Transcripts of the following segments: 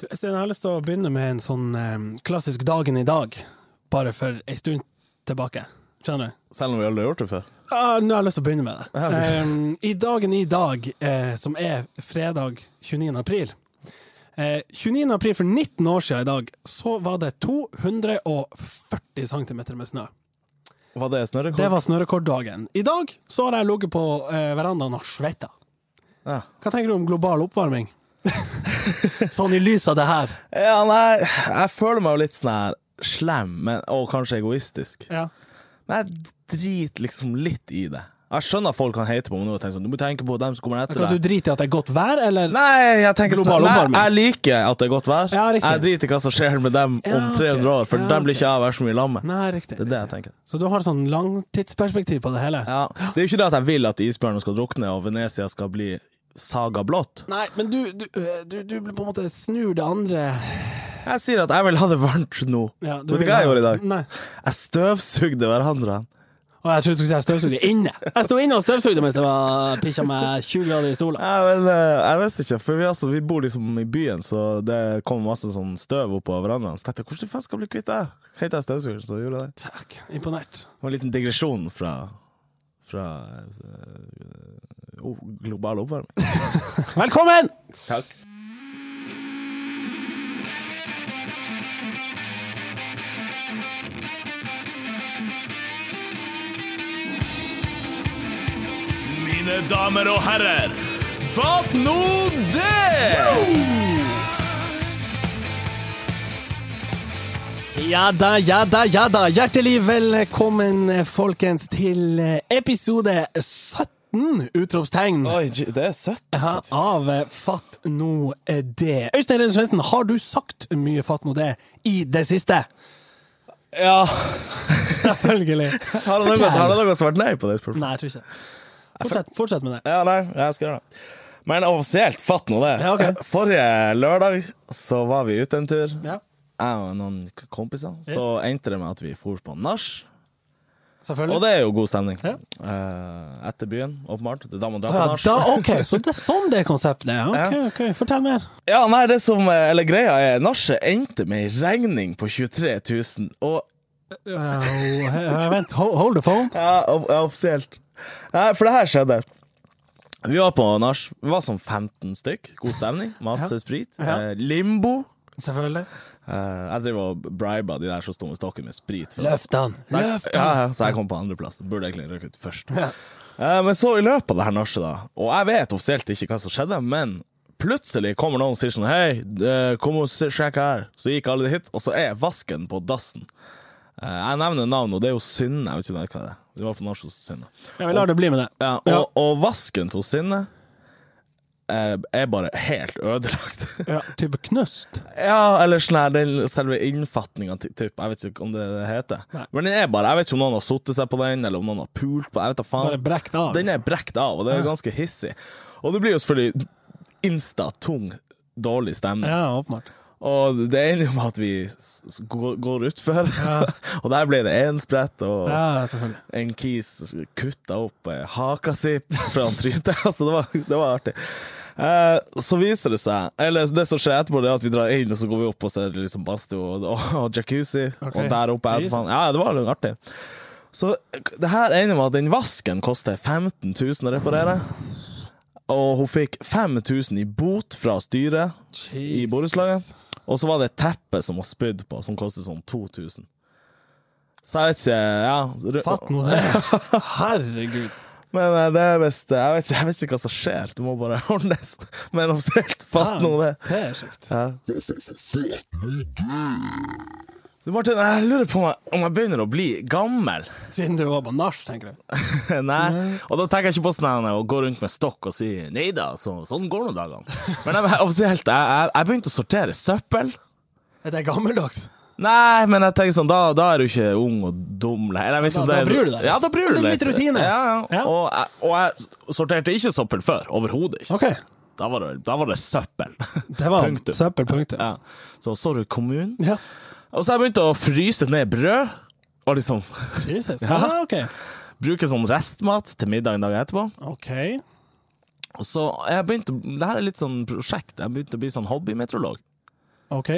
Du, Øystein, jeg har lyst til å begynne med en sånn eh, klassisk dagen i dag, bare for ei stund tilbake. Skjønner du? Selv om vi aldri har gjort det før. Ah, nå har jeg lyst til å begynne med det. Ja, vi- Em, I dagen i dag, eh, som er fredag 29. april eh, 29. april for 19 år siden i dag, så var det 240 cm med snø. Var det snørrekort? Det var snørekorddagen. I dag så har jeg ligget på eh, verandaen og svetta. ja. Hva tenker du om global oppvarming? sånn i lys av det her. ja, nei, jeg føler meg jo litt sånn her slem, men, og kanskje egoistisk. Ja. Men jeg driter liksom litt i det. Jeg skjønner at folk kan hate på meg nå og tenke sånn Du må tenke på dem som kommer etter Akkurat deg. du driter i at det er godt vær, eller? Nei, jeg tenker Global sånn Nei, oppvarming. jeg liker at det er godt vær. Ja, riktig. jeg driter i hva som skjer med dem Ja, om ok. 300 år, for Ja, dem blir ok. ikke jeg være så mye lam med. Nei, riktig. Det er det jeg riktig. tenker. Så du har sånn langtidsperspektiv på det hele? Ja. Det er jo ikke det at jeg vil at isbjørnen skal drukne og Venezia skal bli saga blått. Nei, men du, du, eh, du, du blir på en måte snur det andre Jeg sier at jeg vil ha det varmt nå. ja, Vet du vil hva jeg ha- gjorde i dag? Nei. Jeg støvsugde hverandre. Og jeg trodde du skulle si jeg støvsugde inne. Jeg sto inne og støvsugde mens det var pikkja meg 20 grader i sola. Ja, men, eh, jeg visste ikke, for vi, altså, vi bor liksom i byen, så det kom masse sånn støv opp av verandaen. Så tenkte jeg hvordan faen skal jeg bli kvitt det? Helt jeg støvsuger, så gjorde jeg det. Takk. Imponert. Det var en liten digresjon fra, fra eh, oh, global oppvarming. Velkommen! Takk. Mine damer og herrer, fatt nå det! Ja da, ja da, ja da. Hjertelig velkommen, folkens, til eh, episode 17! Utropstegn. Oi, det er søtt. Ja, av eh, Fatt nå eh, det. Øystein Reine Svendsen, har du sagt mye Fatt nå det i det siste? Ja. Selvfølgelig. Har han noe, har han noe svart nei på det spørsmålet? Nei, jeg tror ikke Fortsett, fortsett med det. Ja, nei, jeg skal gjøre det. Men offisielt, fatt nå det. Ja, ok. Forrige lørdag så var vi ute en tur, Ja, jeg og noen k- kompiser. Så endte det med at vi for på nach, og selvfølgelig. det er jo god stemning. Ja. Eh, etter byen, åpenbart. Det er da man drar ja, på nach. da, ok, så det er sånn det konseptet er. Ok, ok, Fortell mer. Ja, nei, det som, eh, eller greia er, nachet endte med ei regning på 23 000, og Ja, ho- Vent, ho- hold the phone. Ja, off- ja, offisielt. Nei, for det her skjedde. Vi var på nach. Vi var sånn 15 stykk. God stemning. Masse Ja. sprit. Ja. Eh, limbo. Selvfølgelig. Eh, jeg driver og briber de der som står med stokken med sprit. for- Løftene. så jeg, Løftene. ja, ja, så jeg kom på andreplass. Burde egentlig røkke ut først. Ja. Eh, men så i løpet av det her nachet, da, og jeg vet offisielt ikke hva som skjedde, men plutselig kommer noen og sier sånn Hei, eh, kom og se- sjekk her. Så gikk alle hit, og så er vasken på dassen. Eh, jeg nevner navnet, og det er jo Synne. Jeg vet ikke hva det er. Vi var på nach hos Synne. Ja, vi lar det bli med det. Ja, og, Ja. og vasken til Synne eh, er bare helt ødelagt. Ja, type knust. ja, eller sånn her, den selve innfatninga, typ. Jeg vet ikke om det det heter. Nei. Men den er bare Jeg vet ikke om noen har satt seg på den, eller om noen har pult på den. Jeg vet da Bare liksom. faen. brekt av. Den er brekt av, og det er jo ganske hissig. Og det blir jo selvfølgelig insta-tung, dårlig stemning. Ja, åpenbart. Og det ender jo med at vi s- s- går, går utfor, Ja. og der ble det én sprett, og Ja, selvfølgelig. en kis kutta opp eh, haka si fra trynet. altså, det, var, det var artig. Eh, så viser det seg Eller det som skjer etterpå, det er at vi drar inn, og så går vi opp og ser liksom badstue og, og, og jacuzzi. Ok. Og der oppe er Jesus. faen. Ja, det var litt artig. Så det her ender med at den vasken koster 15 000 å reparere. Og hun fikk 5000 i bot fra styret i Jesus. borettslaget. Og så var det et teppe som hun spydde på, som kostet sånn 2000. Så jeg vet ikke ja, ru- Fatt nå det. Herregud. men eh, det er best jeg vet, jeg vet ikke hva som skjer, du må bare ordnes. Men offisielt, fatt nå det. Det er sjukt. Ja. Du Martin, jeg lurer på om jeg, om jeg begynner å bli gammel. Siden du var på nach, tenker du. Nei, Og da tenker jeg ikke på sånn her, å gå rundt med stokk og si nei da, så, sånn går nå dagene. Men jeg, offisielt, jeg, jeg, jeg begynte å sortere søppel. Er det gammeldags? Nei, men jeg tenker sånn, da, da er du ikke ung og dum. Eller, jeg vet ikke Da- om det da er- bryr du deg litt. Ja, da bryr du Det deg er litt rutine. Ja, ja. Ja. Og, jeg, og jeg sorterte ikke søppel før. Overhodet ikke. OK. Da var det, da var det søppel. Det var Punktum. søppel, punktum. ja. Så sorry, kommunen. Ja. Og så har jeg begynt å fryse ned brød. Og liksom Jesus. Ja, OK. bruke sånn restmat til middagen dagen etterpå. OK. Og så har jeg begynt å- Det her er litt sånn prosjekt. Jeg har begynt å bli sånn hobbymeteorolog. OK.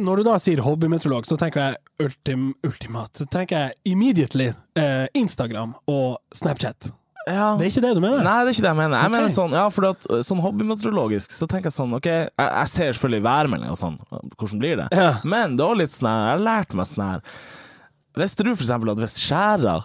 Når du da sier hobbymeteorolog, så tenker jeg ultim, ultimat. Så tenker jeg immediately eh, Instagram og Snapchat. Ja. Det er ikke det du mener? Nei, det er ikke det jeg mener. Jeg Ok. mener sånn, ja, fordi at uh, sånn hobbymeteorologisk så tenker jeg sånn OK, jeg, jeg ser selvfølgelig værmeldinga og sånn, uh, hvordan blir det? Ja. Men det var litt sånn her, jeg har lært meg sånn her Visste du for eksempel at hvis skjæra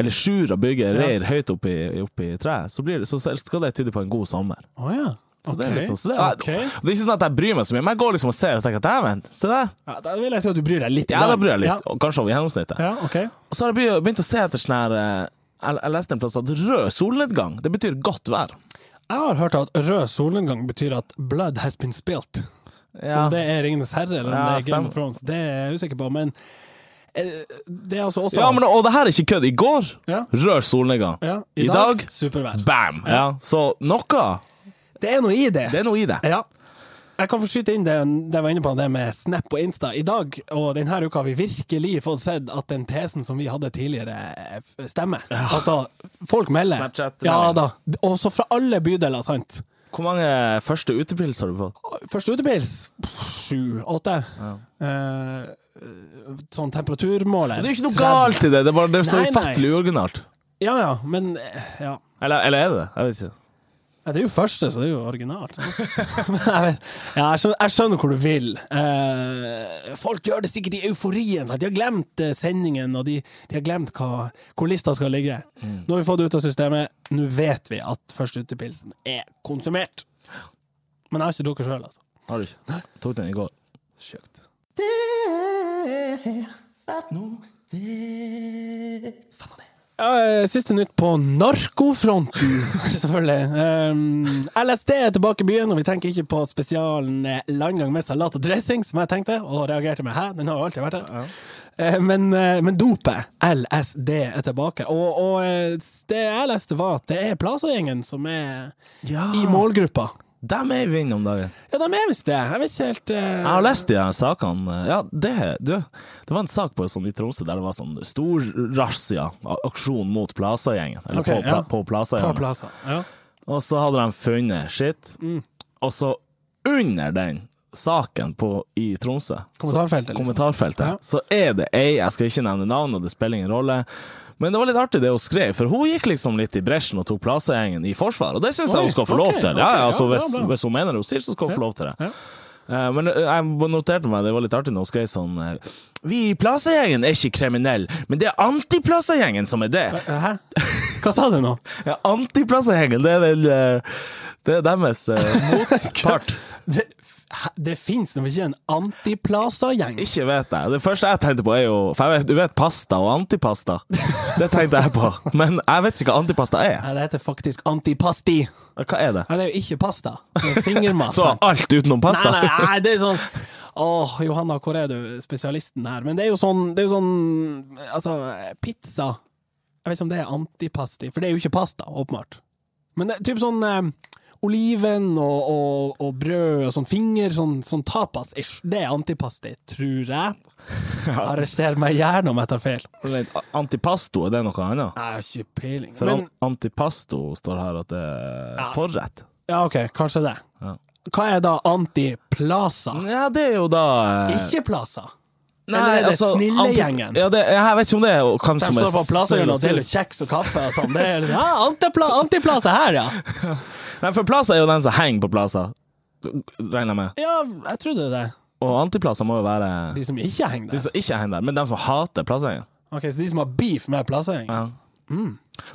eller sjura bygger reir høyt opp i, opp i treet, så, blir det, så skal det tyde på en god sommer. Å ja. Så det Ok. er liksom så det, er- Ok. det er ikke sånn at jeg bryr meg så mye, men jeg går liksom og ser og tenker at dæven, se der. ja, Da vil jeg si at du bryr deg litt. i Ja, dag. da bryr jeg litt, Ja, og kanskje over gjennomsnittet. ja OK. Og så har jeg begy- begynt å se etter sånn her eh, jeg, jeg leste en plass at rød solnedgang, det betyr godt vær. Jeg har hørt at rød solnedgang betyr at blood has been spilt. Ja. Om det er Ringenes herre eller om Ja, det er Game stemmer. of Thrones, det er jeg usikker på, men eh, det er altså også Ja, men og det her er ikke kødd. I går Ja. rød solnedgang. Ja, I dag supervær. bam! Ja. Så noe Det er noe i det. Det er noe i det. Ja. Jeg kan få skyte inn det, det jeg var inne på, det med Snap og Insta. I dag og denne uka har vi virkelig fått sett at den tesen som vi hadde tidligere, eh, f- stemmer. Altså, folk melder. Snapchat, Ja melding. da. Også fra alle bydeler, sant. Hvor mange eh, første utepils har du fått? Første utepils, sju-åtte. sånn temperaturmåler. Det er jo ikke noe galt i det, det er bare det er så Nei, nei. ufattelig uoriginalt. Ja ja, men eh, ja. Eller, eller er det det? Jeg vet ikke. Ja, det er jo første, så det er jo originalt. sånn sett. Men jeg, vet, ja, jeg, skjønner, jeg skjønner hvor du vil. Eh, folk gjør det sikkert i euforien. Sant? De har glemt eh, sendingen, og de, de har glemt hva, hvor lista skal ligge. Nå har vi fått det ut av systemet. Nå vet vi at første utepilsen er konsumert. Men jeg har ikke drukket sjøl, altså. Har du ikke? Tok den i går. Sjukt. Ja, eh, siste nytt på narkofronten, selvfølgelig. Um, LSD er tilbake i byen, og vi tenker ikke på spesialen eh, landgang med salat og dressing, som jeg tenkte, og reagerte med 'hæ', den har jo alltid vært her. Eh, Men, eh, men dopet, LSD, er tilbake. Og, og eh, det jeg leste, var at det er Plaza-gjengen som er Ja. i målgruppa. Dem er i vinden om dagen. Ja, de er visst det. Jeg vet ikke helt eh, Jeg har lest de her sakene. Ja, det, du, det var en sak på, sånn, i Tromsø der det var sånn stor razzia, a- aksjon mot Plaza-gjengen. Eller Ok, på, pla, ja. på På Plaza-gjengen. Plaza. Ja. Og så hadde de funnet skitt. Mm. Og så under den saken på, i Tromsø, Kommentarfeltet. så, Liksom. kommentarfeltet, Ja. så er det ei Jeg skal ikke nevne navn, og det spiller ingen rolle. Men det var litt artig det hun skrev, for hun gikk liksom litt i bresjen og tok Plaza-gjengen i forsvar. Og det syns Oi, jeg hun skal få ok, lov til. ok, Ja, ja, ja, altså, bra, hvis, bra. hvis hun mener det hun sier, så skal hun få lov til det. Ja. Eh, Men eh, jeg noterte meg, det var litt artig når hun skrev sånn eh, Vi i Plaza-gjengen er ikke kriminelle, men det er anti-Plaza-gjengen som er det. Eh, Hæ? Hva sa du nå? Ja, Anti-Plaza-gjengen, det er den eh, Det er deres eh, motpart. Det, hæ? det fins nå ikke en antiplaza-gjeng. Ikke vet jeg. Det første jeg tenkte på, er jo For jeg vet, du vet pasta og antipasta. Det tenkte jeg på. Men jeg vet ikke hva antipasta er. Nei, det heter faktisk antipasti. Nei, Hva er det? det er jo ikke pasta. Det er fingermat. Så sant? alt utenom pasta? Nei, nei, nei, det er sånn Åh, Johanna, hvor er du, spesialisten her? Men det er jo sånn, det er jo sånn Altså, pizza Jeg vet ikke om det er antipasti, for det er jo ikke pasta, åpenbart. Men det er typ sånn eh, oliven og, og, og brød og sånn finger, sånn, sånn tapas-ish. Det er antipasti, tror jeg. Arrester meg gjerne om jeg tar feil. Vent, Antipasto, er det noe annet? Jeg har ikke peiling. For Men, an- antipasto står her at det er forrett. ja, OK, kanskje det. Ja. Hva er da antiplaza? Ja, det er jo da eh, altså, Ikke plaza. Eller er det Snillegjengen? anti- Ja, det, jeg vet ikke om det er hvem De som er står på plasser og snill deler sur. ut kjeks og kaffe og sånn. Det er liksom, ja, antipla antiplasser her, ja. Nei, for plasser er jo den som henger på plasser, regner jeg med. Ja, jeg trodde det. Og antiplasser må jo være De som ikke henger de der. som ikke henger der, men de som hater plassgjengen. Ok, Så de som har beef med plassering? Ja. Mm.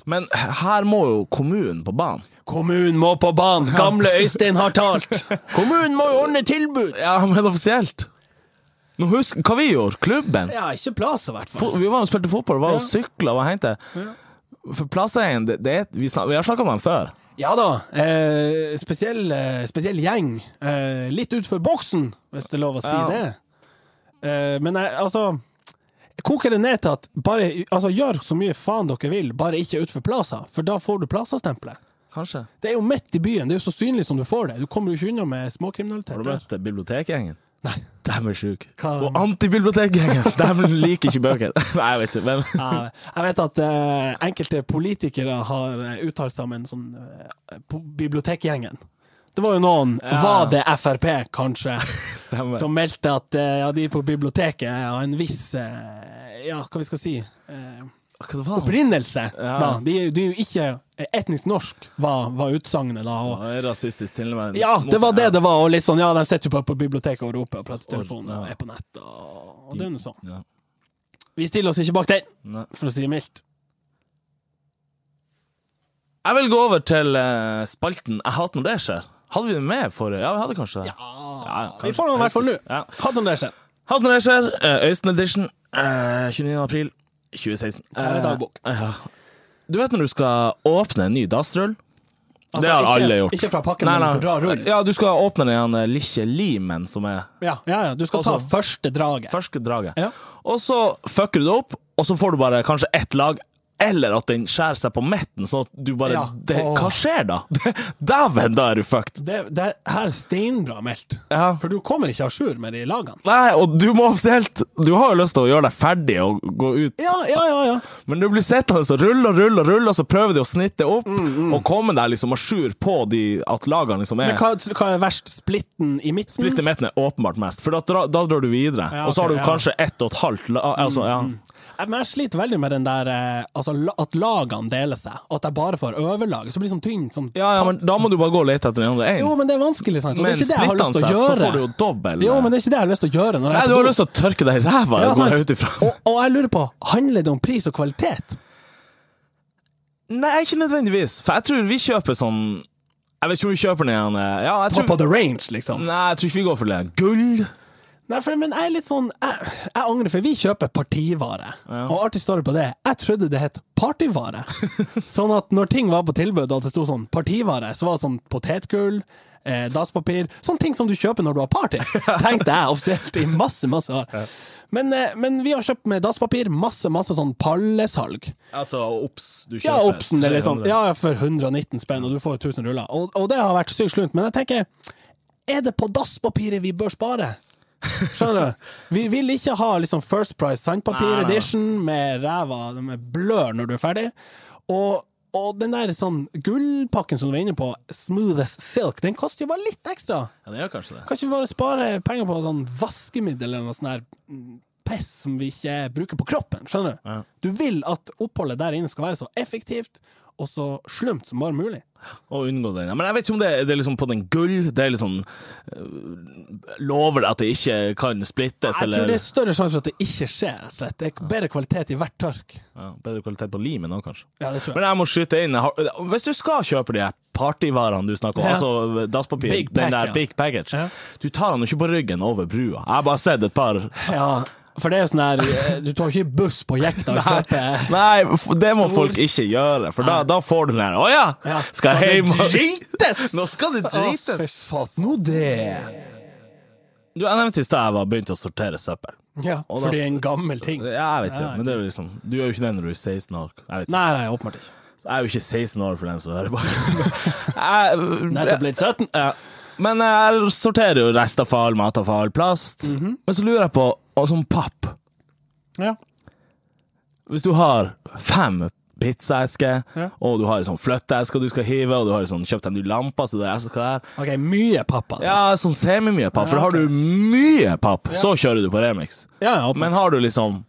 Men her må jo kommunen på banen. Kommunen må på banen! Gamle Øystein har talt! Kommunen må jo ordne tilbud! Ja, men offisielt. Nå husk hva vi gjorde, klubben. Ja, ikke plasser, i hvert fall. Fo- Vi var og spilte fotball, var og Ja. sykla og henta. For plassgjengen, det, det er et- vi, snak, vi har snakka om dem før. Ja da. Eh, spesiell, eh, spesiell gjeng. Eh, litt utfor boksen, hvis det er lov å si Ja. det. Eh, men jeg, altså Koker det ned til at bare, altså, gjør så mye faen dere vil, bare ikke utfor Plaza, for da får du Plaza-stempelet. Kanskje. Det er jo midt i byen, det er jo så synlig som du får det. Du kommer jo ikke unna med småkriminalitet. Har du møtt eh, bibliotekgjengen? Nei. De er sjuke. Hva- Og antibibliotekgjengen! De liker ikke bøker. Nei, jeg vet ikke, men Ja, Jeg vet at eh, enkelte politikere har eh, uttalt seg om en sånn eh, po- bibliotekgjengen. Det var jo noen, Ja. var det Frp kanskje, Stemmer. som meldte at eh, ja, de på biblioteket har en viss eh, Ja, hva vi skal si eh, Hva det var hans- Opprinnelse, Ja. da. De, er jo- de er jo ikke eh, etnisk norsk, var, var utsagnet da. Og, Ja, det er rasistisk tilnærming. ja, det var det Ja. det var, og litt sånn ja, de sitter jo bare på biblioteket og roper og prater i Og- telefonen og ja. er på nett, og, og det er nå sånn. Ja. Vi stiller oss ikke bak den, Nei. for å si det mildt. Jeg vil gå over til eh, spalten 'Jeg hater når det skjer'. Hadde vi det med forrige? Ja, vi hadde kanskje det. Ja, ja, vi kanskje. får den i hvert fall nå. Ja. Hatt om Ah. det skjer. Hatt når det skjer, eh, Øystein Edition, eh, 29. april 2016. Her er dagbok. Eh, ja. Du vet når du skal åpne en ny dassrull? Altså, det har ikke- alle gjort. ikke fra pakken, men fra dra rull. Ja, du skal åpne den eh, lille limen som er Ja, ja, ja, du skal ta Altså- første draget. første draget. Ja. Og så fucker du det opp, og så får du bare kanskje ett lag. Eller at den skjærer seg på midten, sånn at du bare Ja. det, Åh. Hva skjer da? Dæven, da er du fucked! Det, det her er steinbra meldt, Ja. for du kommer ikke à jour med de lagene. Nei, og du må offisielt Du har jo lyst til å gjøre deg ferdig og gå ut, Ja, ja, ja. ja. men du blir sittende og rulle og rulle og rulle, og så prøver de å snitte opp og komme deg liksom à jour på de, at lagene liksom Mm, er Men hva, hva er verst? Splitten i midten? Splitt i midten er åpenbart mest, for da, dra- da drar du videre. Ja, og så ok, har du ja. kanskje ett og et halvt la, Mm, altså, ja. Jeg, men jeg sliter veldig med den der eh, altså, la- at lagene deler seg, og at jeg bare får overlaget. Så blir det sånn tynt som ja, ja, men da må du bare gå og lete etter den andre Jo, én. men det er vanskelig, sant? Og det Men er ikke det jeg har splitter lyst han til seg, å så gjøre. får du jo dobbel. Jo, men det er ikke det jeg har lyst til å gjøre. Når Nei, jeg du er på har do. lyst til å tørke deg i ræva, Ja, går jeg sant. ut ifra. Og, og jeg lurer på, handler det om pris og kvalitet? Nei, ikke nødvendigvis, for jeg tror vi kjøper sånn Jeg vet ikke om vi kjøper den igjen. eh, Ja, jeg tror, Top of the range, liksom? Nei, jeg tror ikke vi går for det. Gull? Nei, for, men jeg er litt sånn Jeg, jeg angrer, for vi kjøper partivare. Og artig story på det, jeg trodde det het partyvare. sånn at når ting var på tilbud, at det sto sånn partivare, så var det sånn potetgull, eh, dasspapir Sånne ting som du kjøper når du har party, tenkte jeg offisielt i masse, masse år. Men, eh, men vi har kjøpt med dasspapir masse, masse sånn pallesalg. Altså obs. Du Ja, Obsen eller sånn. Ja, ja, for 119 spenn, og du får 1000 ruller. Og, og det har vært sykt slunt, men jeg tenker Er det på dasspapiret vi bør spare? Skjønner du? Vi vil ikke ha liksom First Price Nei, nei, sandpapir nei. edition med ræva med blør når du er ferdig. Og, og den der sånn gullpakken som du var inne på, Smooth as Silk, den koster jo bare litt ekstra. ja, det gjør kanskje det. Kan ikke vi bare spare penger på sånn vaskemiddel eller noe sånn her mm, piss som vi ikke bruker på kroppen? Skjønner du? Du vil at oppholdet der inne skal være så effektivt og så slumt som bare mulig. Å unngå den. Ja, Men jeg vet ikke om det, det er liksom på den gull. Det er liksom øh, Lover det at det ikke kan splittes, Jeg tror eller det er større sjanse for at det ikke skjer, rett og slett. Det er bedre kvalitet i hvert tørk. ja, Bedre kvalitet på limen òg, kanskje. Ja, det tror jeg. Men jeg må skyte inn jeg har- Hvis du skal kjøpe de her partyvarene du snakker om, Ja. altså dasspapir, Big pack, den der ja. big package, Ja. du tar den jo ikke på ryggen over brua. Jeg har bare sett et par Ja, for det er jo sånn her eh, Du tar ikke buss på jekta og kjøper Nei, f- det må Stor. folk ikke gjøre, for da, da får du den her Å ja! Ja. Skal jeg hjem det og drites! Nå skal det Å, drites! fy faen, nå det! Du, Jeg nevnte i stad jeg var begynt å sortere søppel. Ja, Og da- fordi det er en gammel ting. Nei, Ja, Jeg vet ikke, Ja, men det er jo liksom Du er jo ikke det når du er 16 år. Jeg, vet ikke. nei, åpenbart ikke. Så jeg er jo ikke 16 år for dem som hører på. Jeg, Nettopp blitt 17. Ja. Men jeg sorterer jo restavfall, matavfall, plast. Men så lurer jeg på og sånn papp. Ja. Hvis du har fem pizzaesker, Ja. og du har en sånn flytteeske du skal hive, og du har en sånn, kjøpt en ny lampe så det er esker der Ok, mye pappa. Altså. Ja, sånn semimye papp. For Ja, har ok. du mye papp, så kjører du på remix. Ja, ja, Men har du liksom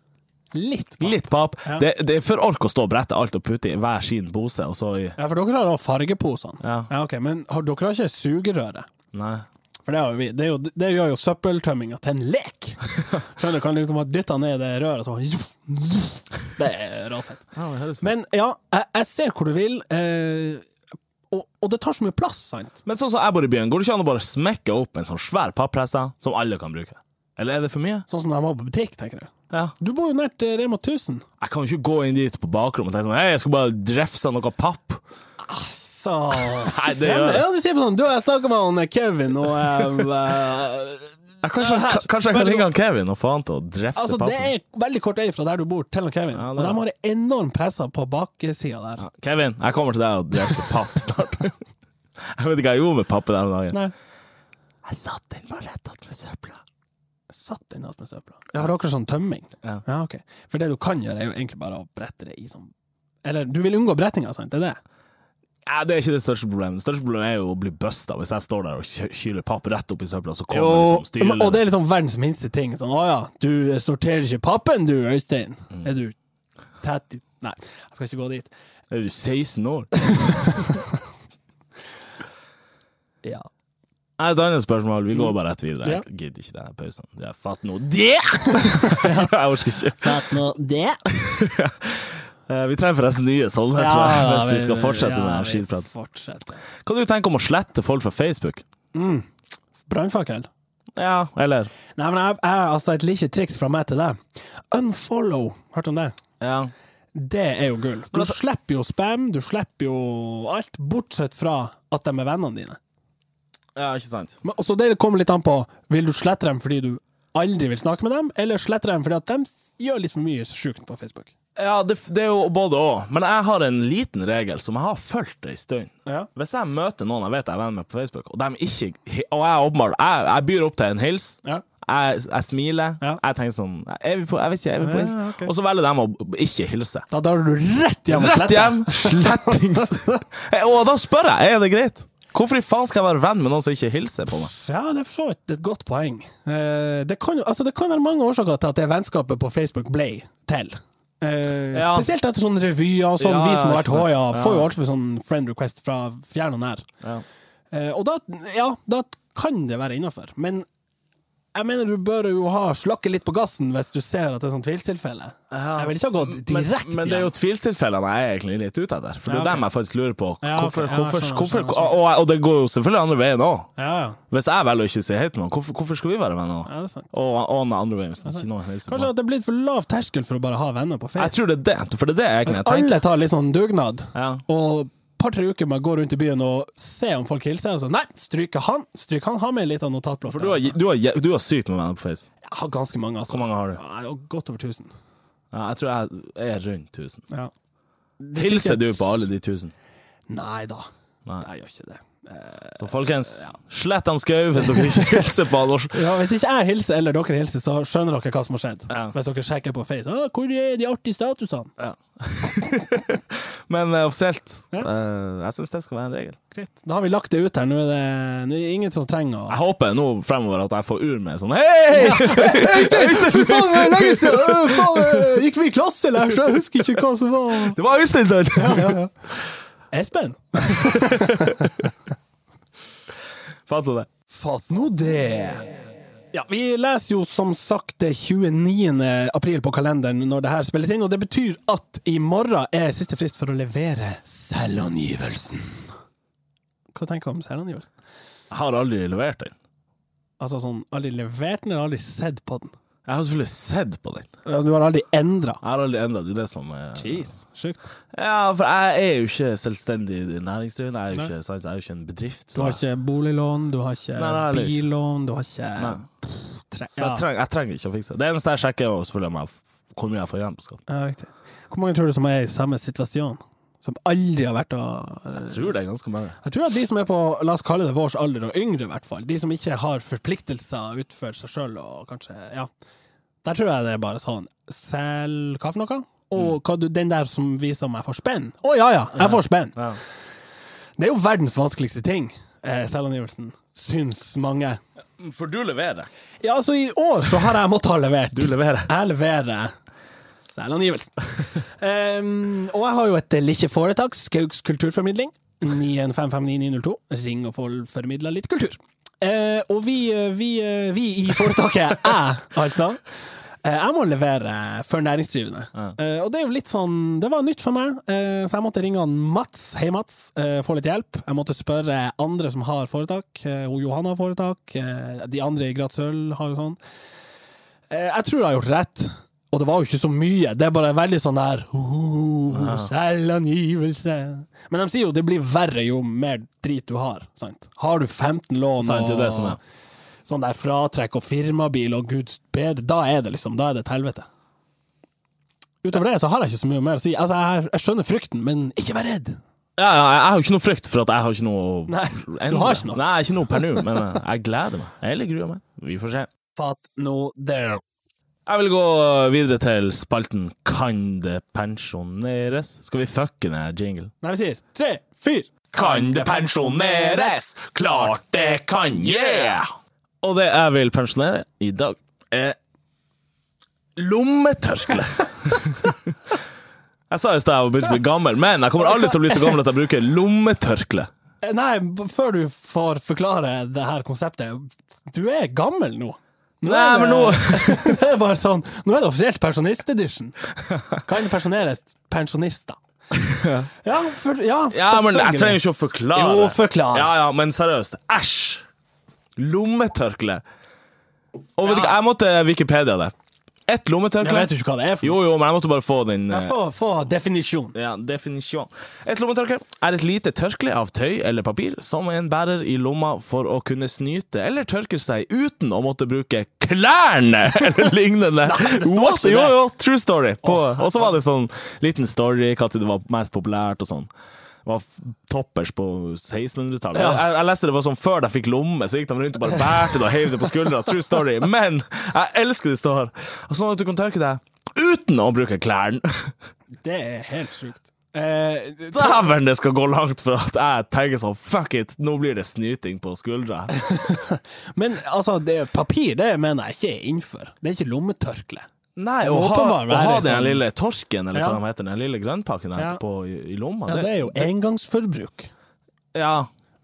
litt. pappa. litt papp Ja. det, det er for ork å stå og brette alt og putte i hver sin pose, og så i Ja, for dere har da fargeposene. Ja. ok, Men har, dere har ikke sugerøret? Nei. For det, har jo vi. Det, er jo, det gjør jo søppeltømminga til en lek! Skjønner du, kan liksom ha dytta ned det røret, så bare Det er råfett. men, Men ja, jeg, jeg ser hvor du vil, eh, og, og det tar så mye plass, sant? men sånn som jeg bor i byen, går det ikke an å bare smekke opp en sånn svær pappresse som alle kan bruke? Eller er det for mye? Sånn som de har på butikk, tenker du. Ja. Du bor jo nært eh, Rema 1000. Jeg kan jo ikke gå inn dit på bakrommet og tenke sånn Hei, jeg skal bare drefse noe papp. Så Nei, det gjør jeg. Ja, du sier på sånn Du, jeg snakka med han eh, Kevin, og eh, eh, Jeg kanskje, Ja, her. ka- kanskje jeg Vær kan så ringe han Kevin og få han til å drefse Altså, det pappen. er veldig kort vei fra der du bor til han Kevin, Ja, og det er de har enorm presser på baksida der. Ja, Kevin, jeg kommer til deg og drefser papp snart. jeg vet ikke hva jeg gjorde med pappen den dagen. Nei, Jeg satt den bare rett attmed søpla. satt den med søpla. Ja, for dere er sånn tømming. Ja. ok. For det du kan gjøre, er jo egentlig bare å brette det i sånn Eller, du vil unngå brettinga, sant? Det er det. Ja, det er ikke det største problemet. Det største problemet er jo å bli busta hvis jeg står der og kjø- kyler papp rett opp i søpla, så kommer Jo, liksom men- og styrelederen. det er liksom verdens minste ting. Sånn, å ja, du eh, sorterer ikke pappen du, Øystein. Mm. Er du tett i- Nei, jeg skal ikke gå dit. Er du 16 år? Ja. Nei, Et annet spørsmål. Vi går bare rett videre. Ja. Jeg gidder ikke denne pausen. Jeg fatter nå det! jeg orker ikke. det Eh, Vi trenger forresten nye sånne, tror jeg, hvis vi skal fortsette med denne skitpraten. skitpraten. Hva du tenker om å slette folk fra Facebook? Mm. Brannfakkel. Ja, eller Nei, men jeg, jeg, altså, et lite triks fra meg til deg. Unfollow. Hørte du om det? Ja. Det er jo gull. Du Men altså- slipper jo spam, du slipper jo alt, bortsett fra at de er vennene dine. ja, ikke sant. Men, så det kommer litt an på Vil du slette dem fordi du aldri vil snakke med dem, eller slette dem fordi at de s- gjør litt for mye sjukt på Facebook. Ja, det, det er jo både òg. Men jeg har en liten regel som jeg har fulgt ei stund. Ja. Hvis jeg møter noen jeg vet jeg er venn med på Facebook, og, de ikke, og jeg, åpenbart, jeg, jeg byr opp til en hils Ja. jeg, jeg smiler, Ja. jeg tenker sånn er vi på, Jeg vet ikke, er vi på Ja, hils? ok. Og så velger de å ikke hilse. Da drar du rett hjem og Rett sletter. hjem! Slettings! og da spør jeg er det greit. Hvorfor i faen skal jeg være venn med noen som ikke hilser på meg? Ja, det er for så vidt et godt poeng. Eh, det, kan, jo- altså, det kan være mange årsaker til at det vennskapet på Facebook ble til. Eh, Ja. Spesielt etter sånne revyer og sånn. Ja, vi som har ja, vært ikke sant. hoia, Ja. får jo alltid sånn friend request fra fjern og nær. Eh, og da, ja, da kan det være innafor. Men jeg mener du bør jo ha slakke litt på gassen hvis du ser at det er sånn tvilstilfelle. Jeg vil ikke ha gått direkte Men, men det er jo tvilstilfellene jeg er egentlig litt ute etter. For det er Ja, ok. dem jeg faktisk lurer på. Ja, ok. Ja, Hvorfor, jeg hvorfor, skjønner, hvorfor, skjønner, skjønner. Og, og det går jo selvfølgelig andre veien òg. Ja, ja. Hvis jeg velger å ikke si hei til noen, hvorfor, hvorfor skal vi være venner nå? ja, det er sant. Og, og den andre veien, hvis det ikke er noen hilser på Kanskje at det er blitt for lav terskel for å bare ha venner på Jeg Facebook. tror det er det, for det er det jeg egentlig Hvis jeg tenker. alle tar litt sånn dugnad Ja. og par-tre uker med å gå rundt i byen og se om folk hilser, og så nei, stryk han, stryk han, ha med litt av notatblokk. For du har, du, har, du har sykt med venner på Face. Jeg har ganske mange, altså. Hvor mange har du? Ja, jeg har godt over 1000. Ja, jeg tror jeg er rundt 1000. Ja. Hilser du på alle de 1000? Nei da, Nei. jeg gjør ikke det. Eh, Så folkens, slett han skau hvis dere ikke hilser på han. og- Ja, hvis ikke jeg hilser eller dere hilser, så skjønner dere hva som har skjedd. Ja. Hvis dere sjekker på Face. «Å, 'Hvor er de artige statusene?' Men eh, offisielt, Ja. eh, jeg syns det skal være en regel. Greit. Da har vi lagt det ut her. Nå er det, nå er det ingen som trenger å Jeg håper nå fremover at jeg får ur med sånn Hei! Fy faen, det er lenge siden! Øh, faen, øh, Gikk vi i klasse, eller? Så jeg husker ikke hva som var Det var Øystein som Espen? Fant du det? Fatt nå det! Ja, Vi leser jo som sagt det 29. april på kalenderen når det her spilles inn, og det betyr at i morgen er siste frist for å levere selvangivelsen. Hva tenker du om selvangivelsen? Jeg har aldri levert den. Altså sånn, aldri levert den, eller aldri sett på den? Jeg har selvfølgelig sett på den. Ja, Du har aldri endra? Jeg har aldri endra det. er det som er Jeez, sjukt. Ja, for jeg er jo ikke selvstendig næringsdrivende. Jeg er jo Nei. ikke, sant? Jeg er jo ikke en bedrift. Du Så, har ikke boliglån, du har ikke Nei, nei, aldri. billån, du har ikke Nei. tre... så jeg, trenger, jeg trenger ikke å fikse det. Det eneste jeg sjekker, er jo selvfølgelig om jeg, f- hvor mye jeg får igjen på skatten. Ja, riktig. Hvor mange tror du som er i samme situasjon? Som aldri har vært å eh, Jeg tror det er ganske mange. Jeg tror at de som er på, la oss kalle det vårs alder, og yngre i hvert fall, de som ikke har forpliktelser utenfor seg sjøl og kanskje, ja Der tror jeg det er bare sånn Selg hva for noe? Mm. Og hva du, den der som viser om jeg får spenn. Å ja ja, jeg får spenn! Ja. Det er jo verdens vanskeligste ting, eh, selvangivelsen, syns mange. For du leverer. Ja, altså, i år så har jeg måttet ha levert. Du leverer. Jeg leverer selvangivelsen. Em, og jeg har jo et lite foretak, Skaugs kulturformidling. 9155902. Ring og få formidla litt kultur. Eh, og vi, eh, vi, eh, vi i foretaket, jeg altså, eh, jeg må levere for næringsdrivende. Eh, og det er jo litt sånn Det var nytt for meg, eh, så jeg måtte ringe han Mats. Hei, Mats. Eh, få litt hjelp. Jeg måtte spørre andre som har foretak. Eh, og Johanna har foretak. Eh, de andre i Gratsøl har jo sånn. Eh, Jeg tror jeg har gjort rett. Og det var jo ikke så mye. Det er bare veldig sånn der oh, Selvangivelse. Men de sier jo det blir verre jo mer drit du har. Sant? Har du 15 lån Sant, det er det som er. sånn der fratrekk og firmabil og guds bedre, da er det liksom Da er det et helvete. Utover det så har jeg ikke så mye mer å si. Altså, jeg, jeg skjønner frykten, men ikke vær redd. Ja, ja, jeg har jo ikke noe frykt for at jeg har ikke noe å Nei, endre. har ikke noe. Nei, ikke noe per nå, men eh, jeg gleder meg. Eller gruer meg. Vi får se. Fatt nå det. Jeg vil gå videre til spalten Kan det pensjoneres? Skal vi fucke ned jingle? Nei, vi sier tre, Fyr! Kan det pensjoneres? Klart det kan, yeah! Og det jeg vil pensjonere i dag, er lommetørkle. jeg sa i stad jeg var begynt å bli gammel, men jeg kommer aldri til å bli så gammel at jeg bruker lommetørkle. Eh, Nei, b- før du får forklare det her konseptet Du er gammel nå. nå Nei, er men det, det er bare sånn Nå er det offisielt pensjonist-edition. Kan pensjoneres pensjonister. Ja, for, ja, Ja, men Jeg selvfølgelig. trenger ikke å forklare. Jo, forklar. Ja, ja, Men seriøst, æsj! Lommetørkle. Og vet Ja. du hva, jeg måtte Wikipedia det. Ett Jeg lommetørkle. vet jo ikke hva det er for noe. Jo, jo, men jeg måtte bare få den eh, Få, få definisjon. Ja, definisjon. Et lommetørkle er et lite tørkle av tøy eller papir som en bærer i lomma for å kunne snyte eller tørke seg uten å måtte bruke klærne eller lignende. det står What? ikke det. Jo, jo, true story. På, og så var det sånn liten story når det var mest populært og sånn. Det var f- toppers på 1600-tallet. Ja. Jeg, jeg leste det var sånn før de fikk lomme, så gikk de rundt og bare bærte det og heiv det på skuldra. True story. Men jeg elsker det står. Og Sånn at du kan tørke deg uten å bruke klærne. Det er helt sjukt. Eh, Dæven, det skal gå langt for at jeg tenker sånn Fuck it, nå blir det snyting på skuldra. men altså, det, papir det mener jeg ikke er innenfor. Det er ikke lommetørkle. Nei, må å ha, åpenbart å ha være den sånn- lille torsken, eller Ja. hva de heter, den lille grønnpakken her Ja. på, i, i lomma Ja, det er jo engangsforbruk. ja.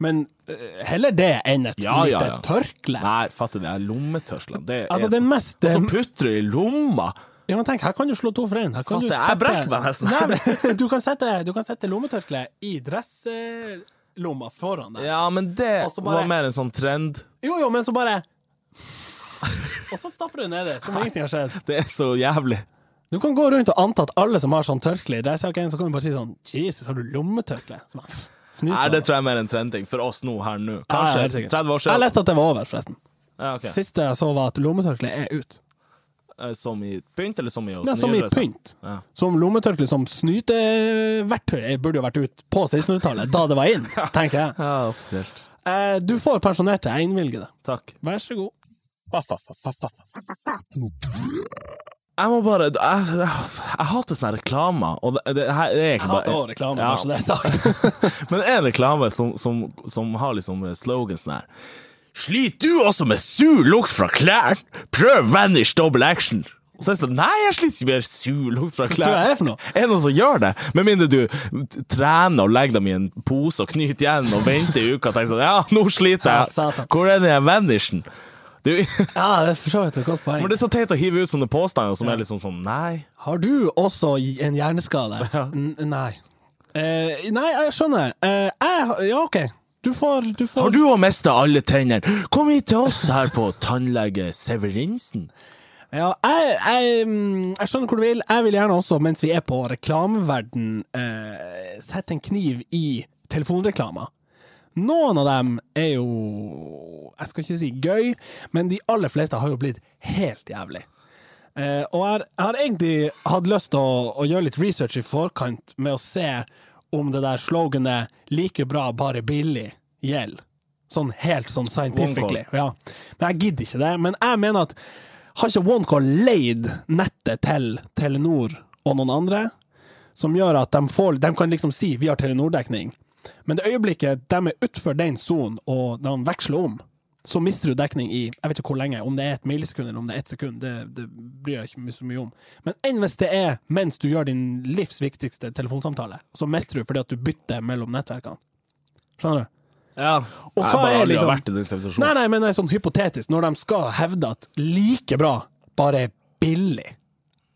Men eh, heller det enn et Ja, ja, lite ja. tørkle. Nei, fatter det, lommetørklene. Det er Altså, det sånn- mest Og så putter du i lomma! Ja, men tenk, her kan du slå to for én. Her kan Fatt du det, jeg brekker meg nesten. Nei, men, du kan sette, du kan sette lommetørkle i dresslomma foran deg. Ja, men det Og så bare- var mer en sånn trend. Jo, jo, men så bare Og så stapper du nedi, som om ingenting har skjedd. Det er så jævlig. Du kan gå rundt og anta at alle som har sånn tørkle i dress, har ikke en, så kan du bare si sånn Jesus, har du lommetørkle? Så bare, pff, fnys Nei, av det det. tror jeg er mer en trending for oss nå her nå. Ja, Kanskje helt sikkert. 30 år Jeg siden. leste at det var over, forresten. Ja, ok. Siste jeg så, var at lommetørkle er ut. Eh, Som i pynt, eller som i å Det er som i snyre seg? pynt. Ja. Som lommetørkle som snyteverktøy burde jo vært ut på 1600-tallet, da det var inn, tenker jeg. Ja, offisielt. Eh, Du får pensjonert deg, jeg innvilger det. Takk. Vær så god. Jeg må bare Jeg, jeg, jeg hater sånne reklamer, og det, det, her er Jeg egentlig hater bare også reklame, Ja. bare så det er sagt. Men en reklame som, som, som har liksom slogan sånn her Slit du også med sur lukt fra klær? Prøv Vanish Double Action. Og så er det sånn Nei, jeg sliter ikke med sur lukt fra Hva tror jeg klær. det er for noe? Er det noen som gjør det? Med mindre du t- trener og legger dem i en pose og knyter igjen og venter i uka og tenker sånn Ja, nå Ja, sliter satan. jeg. Hvor er den her Vanishen? Det er jo- Ja, det er for så vidt et godt poeng. Men det er så teit å hive ut sånne påstander som er liksom sånn Nei. Har du også en hjerneskade? N nei. Eh, nei, jeg skjønner. Eh, jeg, har- ja, OK. Du får, du får Har du òg mista alle tennene? Kom hit til oss her på tannlege Severinsen. Ja, jeg, jeg, mm, jeg skjønner hvor du vil. Jeg vil gjerne også, mens vi er på reklameverden, eh, sette en kniv i telefonreklama. Noen av dem er jo Jeg skal ikke si gøy, men de aller fleste har jo blitt helt jævlig. Eh, og jeg, har- jeg har egentlig hatt lyst til å, å gjøre litt research i forkant med å se om det der sloganet 'like bra, bare billig' gjelder. Sånn helt sånn scientifically. Ja. Men jeg gidder ikke det. Men jeg mener at har ikke OneCall leid nettet til Telenor og noen andre? som gjør at de, får, de kan liksom si vi har Telenor-dekning, men det øyeblikket de er utenfor den sonen og de veksler om, så mister du dekning i jeg vet ikke hvor lenge, om det er et millisekund eller om det er ett sekund, det, det bryr jeg ikke så mye om. Men enn hvis det er mens du gjør din livs viktigste telefonsamtale, så mister du fordi at du bytter mellom nettverkene. Skjønner du? Ja. Og hva er liksom- vært i den situasjonen. Nei, nei, men det er sånn hypotetisk, når de skal hevde at like bra bare er billig.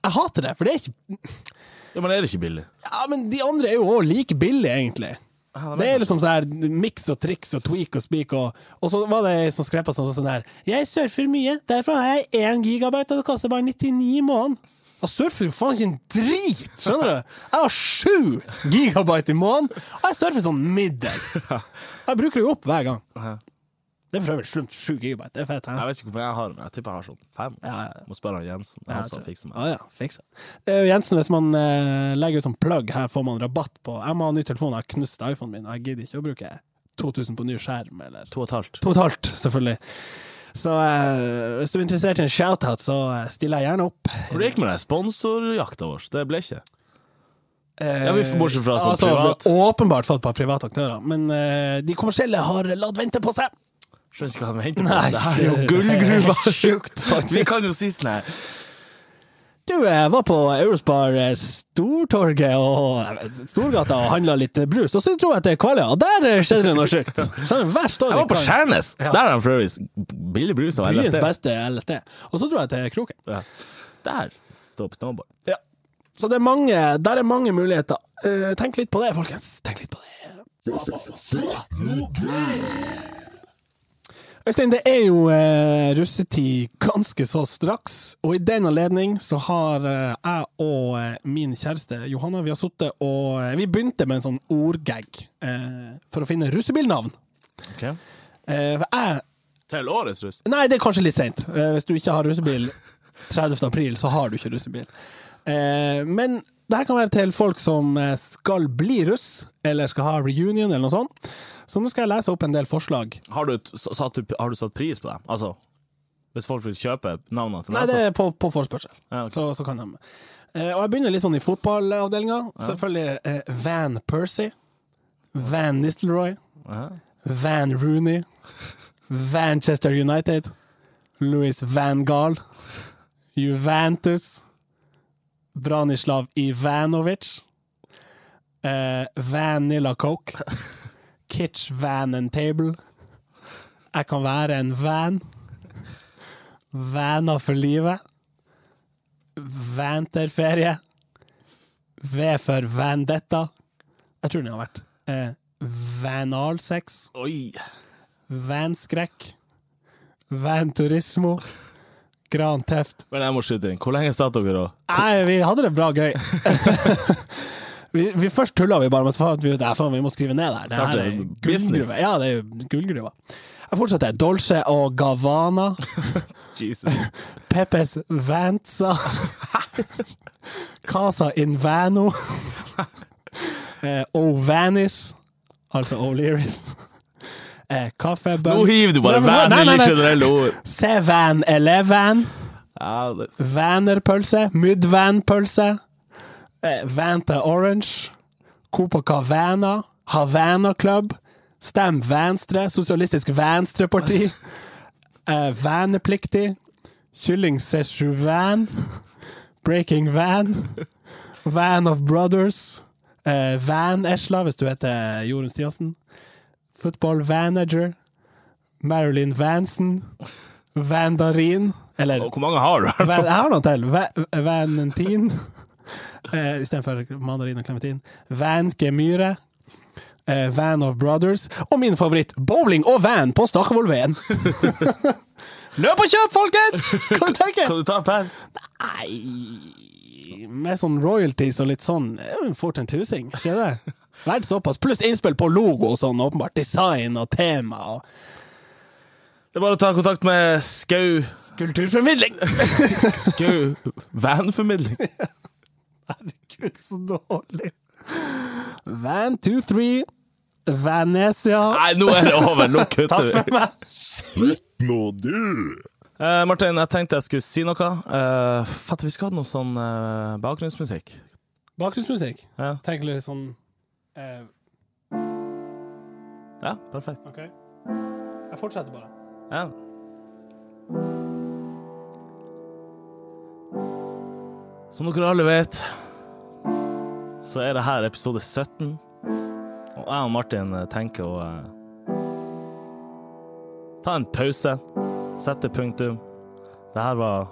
Jeg hater det, for det er ikke Ja, men er det ikke billig? Ja, men de andre er jo òg like billige, egentlig. Det er liksom sånn her miks og triks og tweak og speak og Og så var det ei som skrev på sånn sånn her Jeg surfer mye, derfor har jeg én gigabyte, og det koster bare 99 i måneden. Jeg surfer jo faen ikke en drit, skjønner du? Jeg har sju gigabyte i måneden, og jeg surfer sånn middels. Jeg bruker det jo opp hver gang. Det er for øvrig slumt. Sju gigabyte, det er fett. Hæ? Jeg vet ikke hvor mye jeg har, men jeg tipper jeg har sånn fem. Ja, ja. Må spørre han Jensen. Han som fikser meg. Ja, ja, fiksa. Eh, Jensen, hvis man eh, legger ut sånn plugg her, får man rabatt på Jeg må ha ny telefon, jeg har knust iPhonen min, og jeg gidder ikke å bruke 2000 på ny skjerm, eller To og et halvt. To og et halvt, selvfølgelig. Så eh, hvis du er interessert i en shoutout, så eh, stiller jeg gjerne opp. Hvor det gikk med den sponsorjakta vår? Det ble ikke. Eh, Ja, vi får bortsett fra sånn privat. Åpenbart fått på private aktører, men eh, de kommersielle har latt vente på seg. Skjønner ikke hva de venter på. Nei, det her er jo gullgruva. helt sjukt, faktisk. Vi kan jo si sånn her Du, jeg var på Eurospar eh, Stortorget og eh, Storgata og handla litt eh, brus, og så dro jeg til Kvaløya, og der eh, skjedde det noe sjukt. Skjønner du? Hver Jeg står var på Skjærnes! Der har de for øvrig billig brus av byens LSD. beste LSD. Og så dro jeg til Kroken. Ja. Der står på snowboard. Ja. Så det er mange, der er mange muligheter. Eh, tenk litt på det, folkens. Tenk litt på det. Øystein, det er jo eh, russetid ganske så straks, og i den anledning så har eh, jeg og eh, min kjæreste Johanna Vi har sittet og eh, Vi begynte med en sånn ordgag eh, for å finne russebilnavn. Eh, for jeg Til årets russ. Nei, det er kanskje litt seint. Eh, hvis du ikke har russebil 30. april, så har du ikke russebil. Eh, men det her kan være til folk som eh, skal bli russ, eller skal ha reunion, eller noe sånt. Så nå skal jeg lese opp en del forslag. Har du, et- satt, du- har du satt pris på det? Altså, hvis folk vil kjøpe navnene til Nei, det neste? er på, på forspørsel. Ja, ok. så, så kan de. Eh, og jeg begynner litt sånn i fotballavdelinga. Selvfølgelig eh, Van Percy. Van Nistelrooy. Ja. Van Rooney. Manchester United. Louis Van Gaal. Juventus. Branislav Ivanovic. Eh, Vanilla Coke. Kitsch Van and Table. Jeg kan være en van. Vaner for livet. Vanterferie. V for Vendetta. Jeg tror den har vært. Eh, Vanalsex. Oi! Vanskrekk. Vanturismo. Gran teft. Men jeg må skyte inn. Hvor lenge satt dere og Nei, vi hadde det bra gøy. vi, vi Først tulla vi bare, men så fant vi ut "Nei, faen, vi må skrive ned det her. Det her Starte er business. gullgruve. Ja, det er jo gullgruva. Jeg fortsetter. Dolce og Gavana. Jesus. Peppes Vanza. Casa in Vano. eh, O'Vanis, altså O'Learys. Eh, Kaffebønn. Nå hiver du bare Nei, men- nei, nei, vanlige, nei. generelle ord. Sevan Eleven. Ja, det- Vanerpølse. Mudvanpølse. Eh, Vanta Orange. Copacavana. Havana Club. Stem Venstre. Sosialistisk Venstreparti. Eh, vanepliktig. Kylling Szechuan. Breaking Van. Van of Brothers. Eh, van Esla, hvis du heter Jorunn Stiansen. Football Vanager. Marilyn Vansen. Vandarin. Eller Og Hvor mange har du? Van, jeg har noe til. Va- Vanentin. Eh, Istedenfor mandarin og klementin. Van Gemyre. Eh, van of Brothers. Og min favoritt, bowling og van på Stakkevollveien! Løp og kjøp, folkens! Hva du tenker Kan du ta per? Nei Med sånn royalties og litt sånn det er jo en Fort en tusing, ikke det? Verdt såpass. Pluss innspill på logo og sånn, åpenbart. Design og tema og Det er bare å ta kontakt med Skau kulturformidling! Skau Vanformidling. Herregud, så dårlig. Van 23, Vanesia Nei, nå er det over! Nå kutter vi. Nå du! Eh, Martin, jeg tenkte jeg skulle si noe. Eh, Fatter, vi skal ha noe sånn eh, bakgrunnsmusikk. Bakgrunnsmusikk. Ja. Tenk litt sånn eh, ja, perfekt. OK. Jeg fortsetter bare. Ja. Som dere alle vet, så er det her episode 17. Og jeg og Martin eh, tenker å eh, ta en pause, sette punktum. Det her var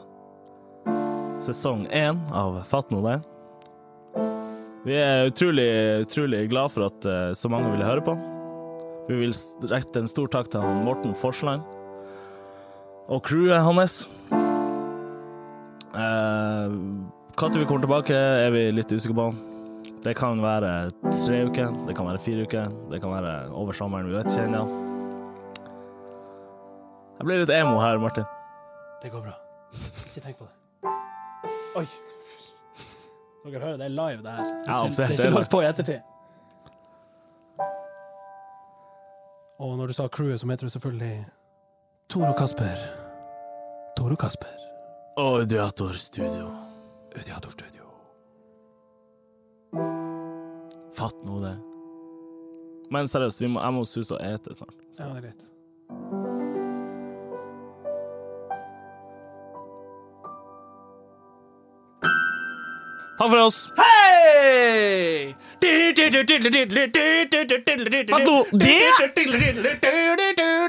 sesong én av Fatt nå det. Vi er utrolig, utrolig glad for at eh, så mange ville høre på. Vi vil s- rette en stor takk til han Morten Forsland og crewet hans. Eh, Når vi kommer tilbake, er vi litt usikre på. Det kan være tre uker, det kan være fire uker, det kan være over sommeren. Vi vet ikke ennå. Jeg ble litt emo her, Martin. Det går bra. Ikke tenk på det. Oi. Dere hører det er live, det her. Det er ikke, det er Ja, absolutt, det er ikke det. lagt på i ettertid. Og når du sa crewet, så mente du selvfølgelig Tor og Kasper. Tor og Kasper. Audiator Studio. Audiatorstudio. Fatt nå det. Men seriøst, vi må, jeg må suse og ete snart. Ja, greit. Takk for oss! Hei! Fatto det? det?